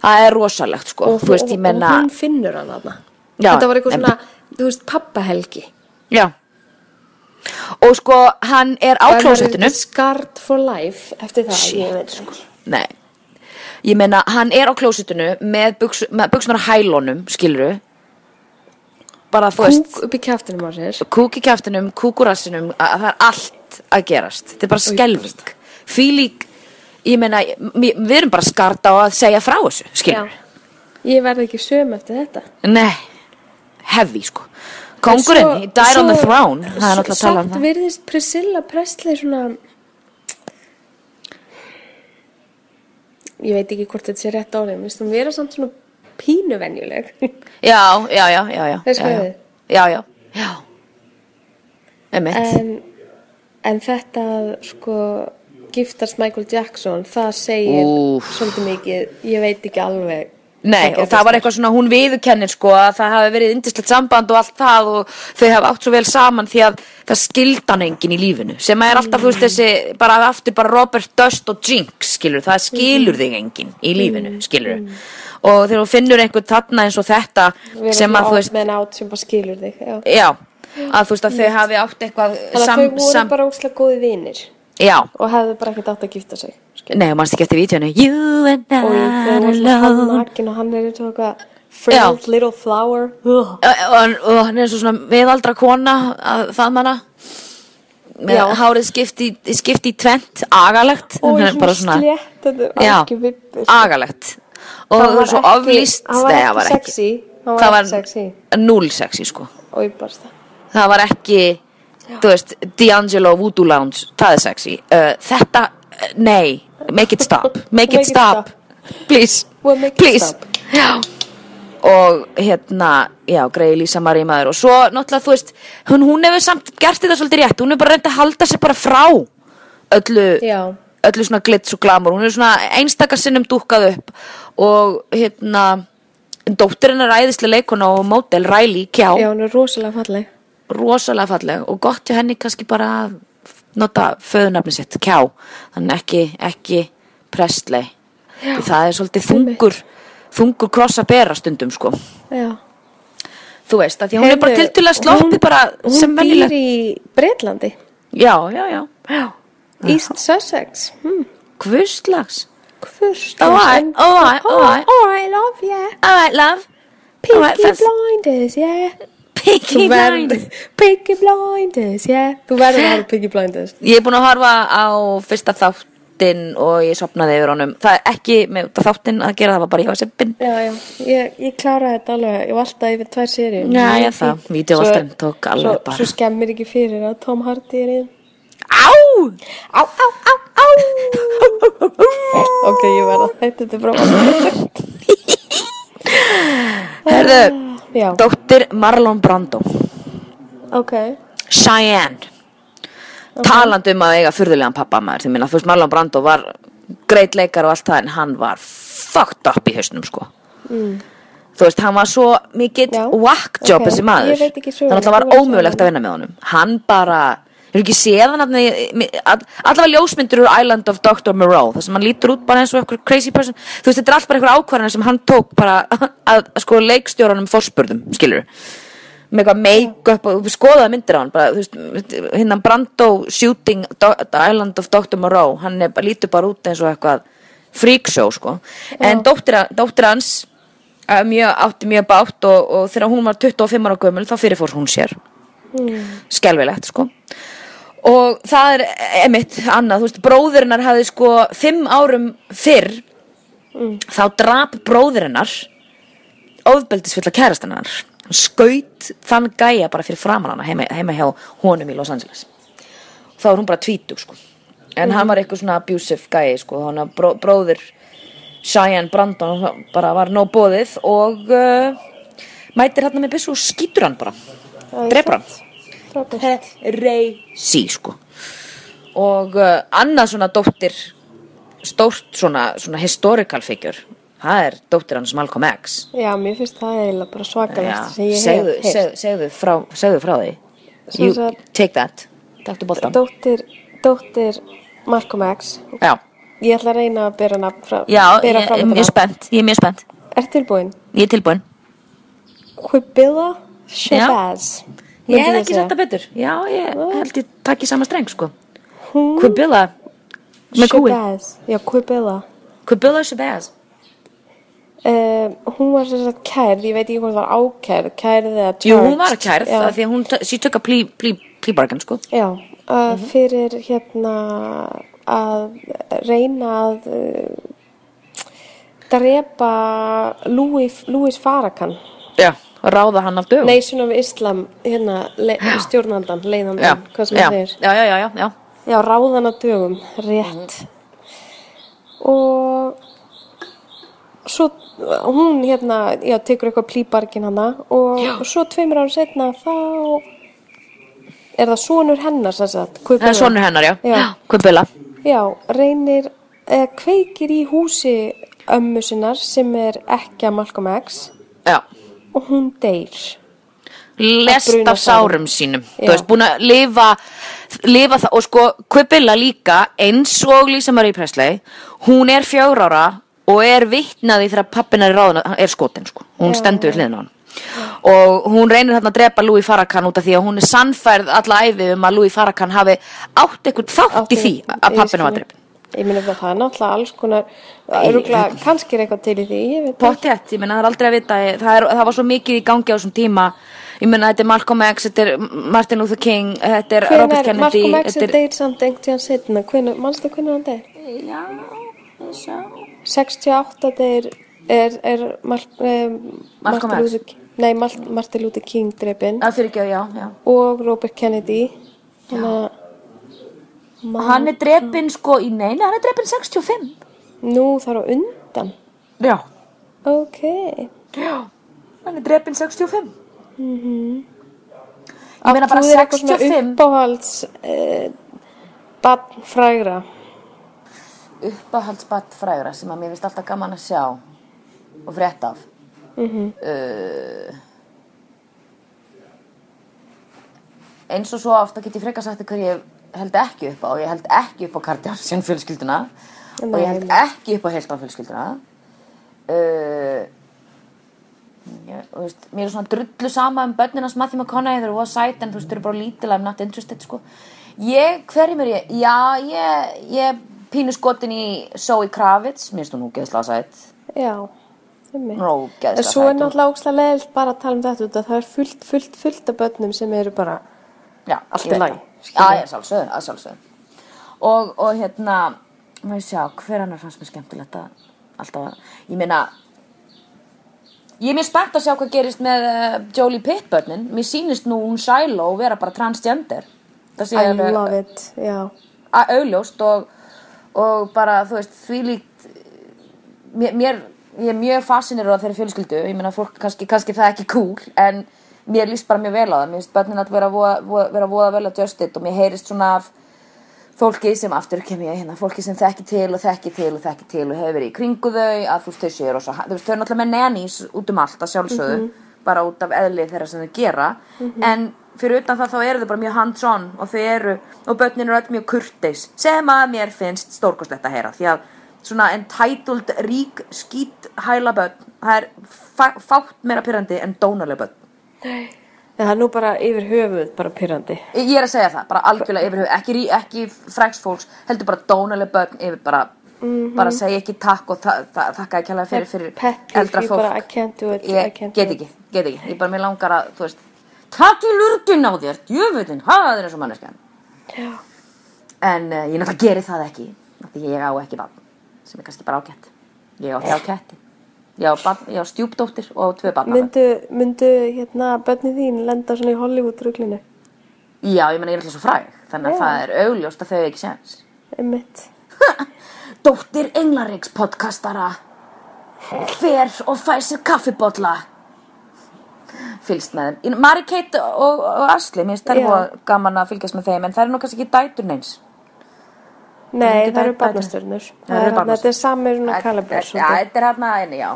C: það er rosalegt sko,
B: og,
C: þú veist, ég
B: og,
C: menna
B: og hún finnur hann aðna
C: Já,
B: þetta var eitthvað
C: en-
B: svona, þú veist, pappahelgi
C: Já Og sko, hann er á klósettinu
B: Scarred for life eftir það
C: Shit,
B: ég veit sko
C: Nei Ég meina, hann er á klósettinu með, buks, með buksunar á hælunum, skiluru Bara þú veist
B: Kúk upp í kjaftinum á sér
C: Kúk í kjaftinum, kúkurassinum að, að Það er allt að gerast Þetta er bara skelving Fýlík, ég meina, m- við erum bara skarta á að segja frá þessu, skiluru
B: Ég verði ekki söm eftir þetta
C: Nei, heavy sko Kongurinn, he died on the throne Það er náttúrulega að tala um
B: Samt
C: það
B: virðist Priscilla Presley svona Ég veit ekki hvort þetta sé rétt orðið Mér finnst hún vera samt svona pínuvenjuleg
C: Já, já, já, já, já
B: Þess
C: já,
B: höfuðið.
C: já, já, já Emmett
B: en, en þetta að, sko giftast Michael Jackson það segir
C: Úff.
B: svolítið mikið Ég veit ekki alveg
C: Nei,
B: hvað
C: og það var
B: gerðist.
C: eitthvað svona, hún viðurkennir sko að það hafi verið indislegt samband og allt það og þau hafi átt svo vel saman því að það skildi hann enginn í lífinu sem er alltaf, þú veist, þessi, bara aftur bara Robert Dust og Jinx, skilur það
B: Mhm.
C: skilur þig enginn í lífinu, skilur og þegar þú finnur einhvern þarna eins og þetta
B: Við erum
C: sem að, þú
B: svona
C: veist,
B: odd men out sem bara skilur þig já.
C: já að þú veist að þau hafi átt eitthvað
B: Þannig að
C: sam,
B: þau voru
C: sam,
B: bara óslega góði vinir
C: já,
B: og hefðu bara ekkert átt að gifta sig
C: nei, mannst ekki eftir vítjónu you and I
B: og ég þegar hún er hann
C: alone
B: nakin og hann er eins og eitthvað frailed little flower Ugh.
C: og, og, og hann er svo svona viðaldra kona að faðmanna með
B: Já.
C: hárið skipt í, skipt í tvent agalegt
B: og
C: Hann
B: í
C: er bara svona-
B: slétt þetta er
C: já,
B: ekki vippur
C: agalegt og
B: Hann
C: það
B: var
C: var svo
B: ekki-
C: oflýst
B: hann var
C: Nei,
B: ekki
C: það
B: sexy. Hann var ekki
C: það var
B: sexy.
C: null sexy sko
B: og ég bara stað
C: það var ekki þú veist, D'Angelo Voodoo Lounge það er sexy uh, þetta, uh, nei, make it stop make it, stop. please
B: We'll make it
C: please
B: stop.
C: Já. og hérna já, greiði Lísa Marí maður og svo náttúrulega þú veist, hún, hún hefur samt gert þetta svolítið rétt, hún hefur bara reynd að halda sér bara frá öllu
B: Já.
C: öllu svona glitz og glamour, hún er svona einstaka sinnum dúkkað upp og hérna dóttirinn er æðislega leikona og mótel Riley Kjá
B: já, hún er rosalega falleg
C: rosalega falleg og gott hjá henni kannski bara að nota föðunafni sitt, kjá þannig ekki, ekki prestlei það er svolítið þungur þungur kross að bera stundum sko
B: já.
C: þú veist, að því að hún er bara
B: Heyrðu,
C: tiltölulega sloppið bara
B: hún
C: sem venjuleg
B: býr í Breitlandi
C: já, já, já, já,
B: East Sussex hmm.
C: hvurslags
B: Kvist,
C: All right, all right, all right.
B: all right, love, yeah
C: alright love
B: Peaky
C: All right, fast.
B: blinders, yeah
C: Peaky Blinders
B: Peaky blinders, yeah Þú verður að hafa Peaky blinders
C: Ég er búin að horfa á fyrsta þáttinn og ég sopnaði yfir honum. Það er ekki með þáttinn að gera það var bara ég var seppin.
B: Já, já, ég, ég kláraði þetta alveg, ég var alltaf yfir tvær séri
C: Já, já, það. Vídeóvarpinn tók alveg
B: svo,
C: bara.
B: Svo skemmir ekki fyrir að Tom Hardy er einn
C: Á! Á, á, á, á!
B: Ok, ég verða þetta, þetta er bara
C: Herðu,
B: Já,
C: dóttir Marlon Brando.
B: ok
C: Cheyenne. Talandi um að eiga furðulegan pappa maður. Þið minna, þú veist, Marlon Brando var greit leikar og allt það en hann var fucked up í hausnum, sko. Þú veist, hann var svo mikill
B: Mm. Já,
C: whack job
B: ok.
C: þessi maður.
B: Ég veit ekki söguna,
C: Þannig að
B: þú
C: það
B: verður
C: var
B: að
C: ómögulegt að vinna með honum. Hann bara, ég er ekki séð hann að allavega ljósmyndir úr Island of Dr. Moreau, þar sem hann lítur út bara eins og eitthvað crazy person. Þú veist, þetta er allt bara eitthvað ákvarðan sem hann tók bara að, að, sko leikstjóranum fórspurðum, skilur með eitthvað make-up og við skoðaði myndir á hann bara, þú veist, hinnan Brando shooting Do Island of Dr. Moreau hann er bara, lítur bara út eins og eitthvað freakshow, sko en dóttir, dóttir hans eh, mjög, átti mjög bátt og, og þegar hún var 25 ára gömul þá fyrirfór hún sér skelfilegt, sko og það er emitt annað, þú veist, bróðurinnar hafði sko fimm árum fyrr þá drap bróðurinnar ofbeldisfulla kærastan hennar hann skaut þann gæja bara fyrir framan hana heima, heima hjá honum í Los Angeles þá er hún bara tvítug sko en hann var eitthvað svona abusive gæi sko hann að bró, bróðir Cheyenne Brandon hann bara var nóg bóðið og uh, mætir hann með byssu og skýtur hann bara drefur hann
B: Strákur.
C: crazy sko og uh, annað svona dóttir stórt svona, svona historical figure það er dóttir hans Malcolm X
B: Já, mér finnst það eiginlega bara
C: Já,
B: svakalegt sem ég
C: segðu,
B: heyrt.
C: segðu, segðu, frá, segðu frá því
B: Sem
C: you,
B: sagt-
C: Take that Taktu boltan
B: Dóttir, dóttir Malcolm X
C: Já,
B: Ég ætla að reyna að bera nafn frá
C: já ég,
B: bera
C: ég
B: fram
C: er
B: þetta
C: mjög
B: nafn.
C: spennt Ég er mjög spennt,
B: Ertu tilbúin?
C: ég er tilbúin
B: Quibilla
C: Já.
B: Shabazz
C: Ég
B: myndi
C: hef ekki sett það betur. Já, ég held ég takk í sama streng, sko. Quibilla. Með kúi.
B: Shabazz, já Quibilla
C: Quibilla Shabazz.
B: um, Hún var sem sagt kærð, ég veit ekki hvort það var ákærð Kærð eða charged
C: Jú, hún var kærð,
B: Já,
C: af því að hún, she took a plea, plea, plea bargain, sko.
B: já uh, fyrir hérna að reyna að uh, drepa Louis, Louis Farrakhan
C: Já. Og ráða hann af dögum.
B: Nation of Islam, hérna, le, stjórnandan,
C: já.
B: leiðandan, hvað sem
C: já.
B: það segir.
C: Já, já, já, já, já.
B: Já, ráðan að dögum, rétt. Og svo hún hérna, já, tekur eitthvað plýbargin hana og svo tveimur ára setna þá er það sonur hennar, sem sagt,
C: Það
B: Kubilla.
C: er sonur hennar, já.
B: Já.
C: Quibilla.
B: Já, reynir, eða kveikir í húsi ömmu sinnar sem er ekki að Malcolm X
C: Já.
B: og hún deyr.
C: Lest
B: bruna
C: af sárum sínum.
B: Já.
C: Þú veist, búin að lifa, lifa það. Og sko, Quibilla líka, eins og Lisa Marie Presley, hún er fjögur ára og er vitnaði þegar pappinar er ráðan, er skotin, sko. Hún stendur við hliðin á hann. Og hún reynir þarna að drepa Louis Farrakhan út af því að hún er sannfærð alla æfi um að Louis Farrakhan hafi átt eitthvað þátt í því að pappinu var drepin.
B: Ég meina það er náttúrulega alls konar, örugla, kannski er eitthvað til í því, ég veit það.
C: Pottjætt, ég meina það er aldrei að vita það, er, það var svo mikið í gangi á þessum tíma Ég meina þetta er Malcolm X, þetta er Martin Luther King Þetta er
B: Hvenær,
C: Robert Kennedy
B: Malcolm X er
C: þetta
B: deyr samt einhvern tíðan setna, hvenær, mannstu hvenær hann deyr? Já, þess að. 68 deyr er, er Mal, um,
C: Malcolm X.
B: Luther, King- nei, Mal, Martin Luther King drefin
C: Það fyrir ekki, já, já
B: og Robert Kennedy. Þannig að,
C: Hann er drepinn sko í neina, hann er drepinn 65
B: nú þar á undan.
C: Já,
B: Ok,
C: já Hann er drepinn 65 mm -hmm. Ég meina
B: Mhm. þú
C: bara
B: er eitthvað svona
C: 65
B: uppáhalds uh, bann frægra.
C: Uppahaldsbatt frægra sem að mér finnst alltaf gaman að sjá og frétta af mm -hmm. eins og svo ofta get ég frekar sagt þér hvað ég held ekki upp á ég held ekki upp á kardjársjón fjölskylduna og ég held ekki upp á heiltan fjölskylduna uh, ég, og veist, mér er svona drullu sama um börninas Matthew McConaughey þeir eru voða sæt en þú veist, þeir eru bara lítil I'm not interested sko ég, hverjum er ég? Já, ég, ég er pínu skotin í Zoe Kravitz mér finnst hún ógeðslega sæt
B: Já, einmitt.
C: Hún er ógeðslega
B: En Svo er
C: sæt.
B: náttúrulega ógæðslega leiðilt bara að tala um þetta út að það er fullt, fullt, fullt af börnum sem eru bara
C: Já,
B: Allt
C: ég
B: í
C: veit
B: lagi,
C: það.
B: skilur.
C: Já, ég sjálfsögðu, að sjálfsögðu. Og, og hérna, maður sjá, hver annar fannst mér skemmtilegt að alltaf að, ég meina, ég er mér spennt að sjá hvað gerist með uh, Jolie Pitt-börnin. Mér sýnist nú hún Shiloh vera bara transgender. Það sé
B: I
C: alveg-
B: love it, já.
C: a- augljóst og, og bara þú veist því líkt mér, mér, ég er mjög fascinir á þeirri fjölskyldu ég meina fólk kannski, kannski það er ekki cool en mér líst bara mjög vel á það mér finnst börnin alltaf vera, voða- voða- vera voða vel að justit og mér heyrist svona af fólki sem aftur kem ég hérna, fólki sem þekki til og þekki til og þekki til og hefur verið í kringu þau að þú veist þau séu rosa, þú veist þau eru náttúrulega með nannies út um allt að sjálfsögðu bara út af eðli þeirra sem þau gera en fyrir utan það þá eru þau bara mjög hands on og þau eru, og börnin eru öll mjög kurteis sem að mér finnst stórkoslegt að heyra því að svona entitled rík skít hæla börn það er fá- fátt meira pyrrandi en dónalega börn
B: En það er nú bara yfir höfuð bara pyrrandi.
C: Ég er að segja það, bara algjörlega yfir höfu, ekki, rí- ekki fræks fólks, heldur bara dónaleg börn yfir bara,
B: Mhm.
C: bara segja ekki takk og þa þa þakka ekki alveg fyrir, fyrir
B: Pettir
C: eldra
B: því
C: fólk.
B: bara, I can't do it, I
C: ég
B: can't
C: get
B: do
C: ekki, get ekki, ég bara mér langar að, þú veist, takk í lurgin á þér, djöfutin, hafa þér eins og manneskjan.
B: Já.
C: En uh, ég náttúrulega geri það ekki, af því ég á ekki barn, sem er kannski bara ágætt. Ég á þjá ketti, ég á, barn- ég á stjúpdóttir og á tvö barnabörn.
B: Myndu, myndu hérna börni þín lenda svona í Hollywood-ruglinu?
C: Já, ég meina ég er alltaf svo fræg, þannig að það er augljóst að þau eiga ekki séns.
B: Einmitt.
C: Dóttir Englaríks podcastara Fer og fær sér kaffibotla Fylgst með þeim Ég- Mary Kate og, og Asli Mér finnst þær
B: Já.
C: voða gaman að fylgjast með þeim En þær eru nú kannski ekki dætur neins
B: Nei,
C: Myndu
B: það eru
C: bæta-
B: barnastörnur.
C: Það eru barnastjörnur.
B: Þetta er sami svona kalabur.
C: Já, þetta er hérna einu, já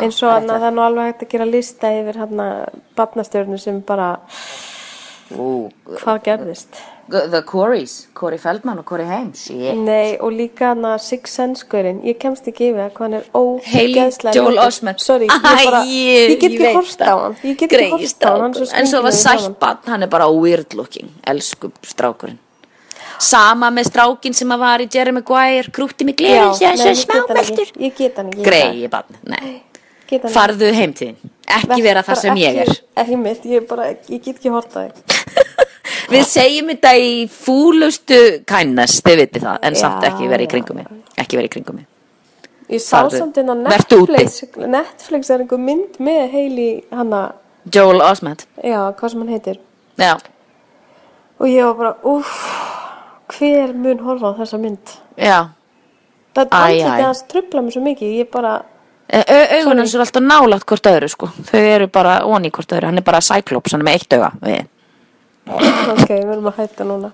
B: eins og annað það er nú alveg hægt að gera lista yfir hérna barnastjörnur sem bara
C: Ú,
B: hvað gerðist
C: The Corys, Corey Feldman og Corey Haim Shit
B: Nei, og líka hann að Six Sense-skurinn, ég kemst ekki yfir hvað hann er
C: Haley
B: ógeðslega
C: Joel
B: ljótur.
C: Osment
B: Sorry, ég, bara, ég, get ekki horft á hann Ég get ekki horft á hann, hann er
C: En svo
B: skringilegur
C: var
B: í framan.
C: sælbann, hann er bara weird looking Elsku strákurinn Sama með strákinn sem að var í Jerry Maguire Krútti mig
B: Já,
C: gleður sér
B: nei, ég
C: svo
B: get hann ekki.
C: smámeltur
B: Ég get hann ekki
C: Greiði barn, nei
B: Get hann ekki.
C: Farðu heimtíðin, ekki
B: Vertu
C: vera þar
B: bara
C: sem ég er
B: ekki, Ekki mitt, ég, bara, ég get ekki horft á þig
C: Við segjum þetta í fúlustu kindness, þið viti það, en samt
B: Já,
C: ekki vera í
B: já.
C: kringum mig, ekki vera í kringum mig.
B: Ég sá
C: Farðu.
B: samt inn á
C: Vertu úti.
B: Netflix Netflix er einhver mynd með Haley hanna,
C: Joel Osment,
B: já, hvað sem hann heitir
C: já,
B: Og ég var bara, uff, hver mun horfa á þessa mynd?
C: já,
B: Það
C: Æ, æ.
B: andliti hans trubla mig svo mikið, ég bara,
C: augunum sem er alltaf nálægt hvort öðru, sko, þau eru bara onni hvort öðru, hann er bara Cyclops, hann er með eitt auga, við.
B: ok, við verðum að hætta núna.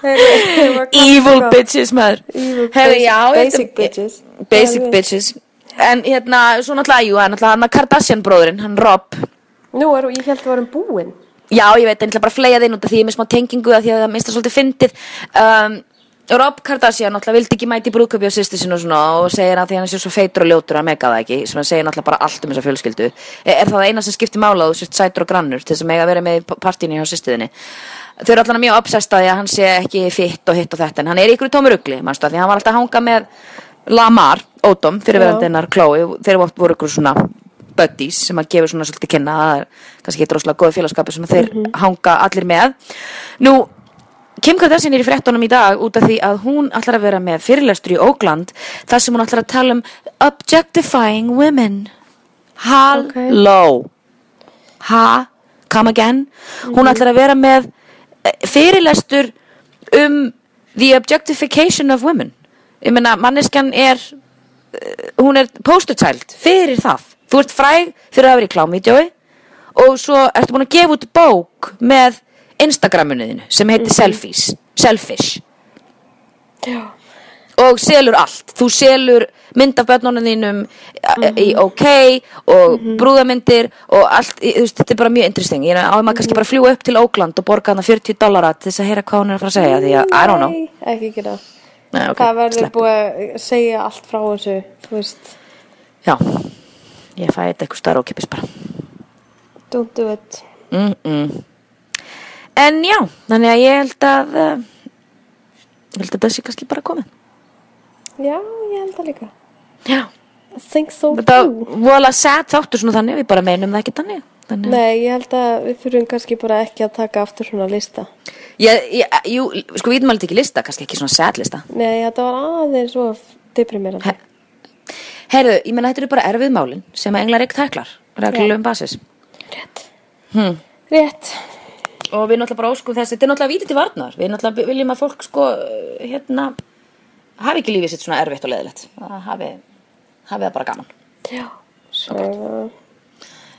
B: Heyrðu,
C: Evil bitches, maður.
B: Evil
C: Herðu,
B: bitches,
C: já,
B: basic
C: þetta-
B: bitches.
C: Basic
B: Alveg.
C: bitches. En hérna, svo náttúrulega, jú, hann náttúrulega, hann er Kardashian bróðurinn, hann Rob,
B: Nú erum, ég held að við erum búin.
C: Já, ég veit, en ég ætla bara að fleia þeim út af því ég er með smá tengingu af því að það minnst það svolítið fyndið. Um, Rob Kardashian náttúrulega vildi ekki mæti brúðköpi á sýstu sinu og svona og segir að því hann sé svo feitur og ljótur að mega það ekki sem hann segir náttúrulega bara allt um þessa fjölskyldu er, er það eina sem skiptir mála að þú sért sætur og grannur til þess að mega vera með í pa- partíinu hjá sýstuðinni þau eru allavega mjög obsessed að því að hann sé ekki fitt og hitt og þetta en hann er ykkur í tómur ugli manstu að því að hann var alltaf að hanga með Lamar, Ódóm,
B: Já.
C: fyrirverandi hennar Chloe, þeir voru voru ykkur svona buddies sem að gefur svona svolítið kynna að það er kannski ekki droslega góði félagskapi sem að þeir hanga allir með Nú, Kim Kardashian er í fréttunum í dag út af því að hún ætlar að vera með fyrirlestur í Oakland þar sem hún ætlar að tala um objectifying women Halló Ha, come again Hún ætlar að vera með eh, fyrirlestur um the objectification of women Ég meina, manneskjan er hún er poster child fyrir það þú ert fræg fyrir að vera í klámvídjói og svo ertu búin að gefa út bók með Instagraminu þínu sem heitir selfies, selfish
B: Mhm. Já.
C: og selur allt þú selur mynd af börnunum þínum mm í
B: Mhm.
C: OK og brúðamyndir og allt í- þú veist, þetta er bara mjög interesting ég áður maður
B: Mhm.
C: kannski bara að fljúa upp til Oakland og borga hana 40 dollara til þess að heyra hvað hún er að fara að segja því að I don't know
B: Nei, ekki gera.
C: Nei, ok,
B: það verður
C: sleppum.
B: búið að segja allt frá þessu, þú veist,
C: Já, ég fæði þetta eitthvað starf og kipis bara
B: don't do it.
C: mm En já, þannig að ég held að uh, ég held að það sé kannski bara komið
B: Já, ég held það líka.
C: Já
B: I think so
C: Þetta
B: too.
C: vola sad þáttur svona þannig við bara meinum það ekki þannig, þannig. að-
B: Nei, ég held að við þurfum kannski bara ekki að taka aftur svona lista.
C: Ég, ég, Jú, sko við maður ekki lista kannski ekki svona sad lista
B: Nei, þetta var aðeins of deprimerandi.
C: He- Heyrðu, ég meina þetta eru bara erfið málin sem að englar ekki tæklar reglulegum basis Hm.
B: Rétt.
C: og við náttúrulega bara óskum þess þetta er náttúrulega vítið til varnar við náttúrulega viljum að fólk sko uh, hérna hafi ekki lífið sitt svona erfitt og leðilegt hafi, hafi það bara gaman
B: Já. Svo,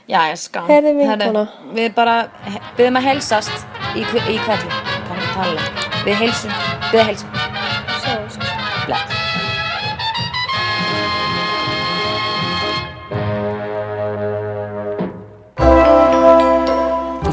C: Já, ég skam.
B: Heyrðu, vinkona.
C: Heyrðu, Við bara he- byggum að helsast í, kve- í kvelli. Kannu tala. Við helsum, byggum að helsum.
B: svo.
C: Bless.
A: Þú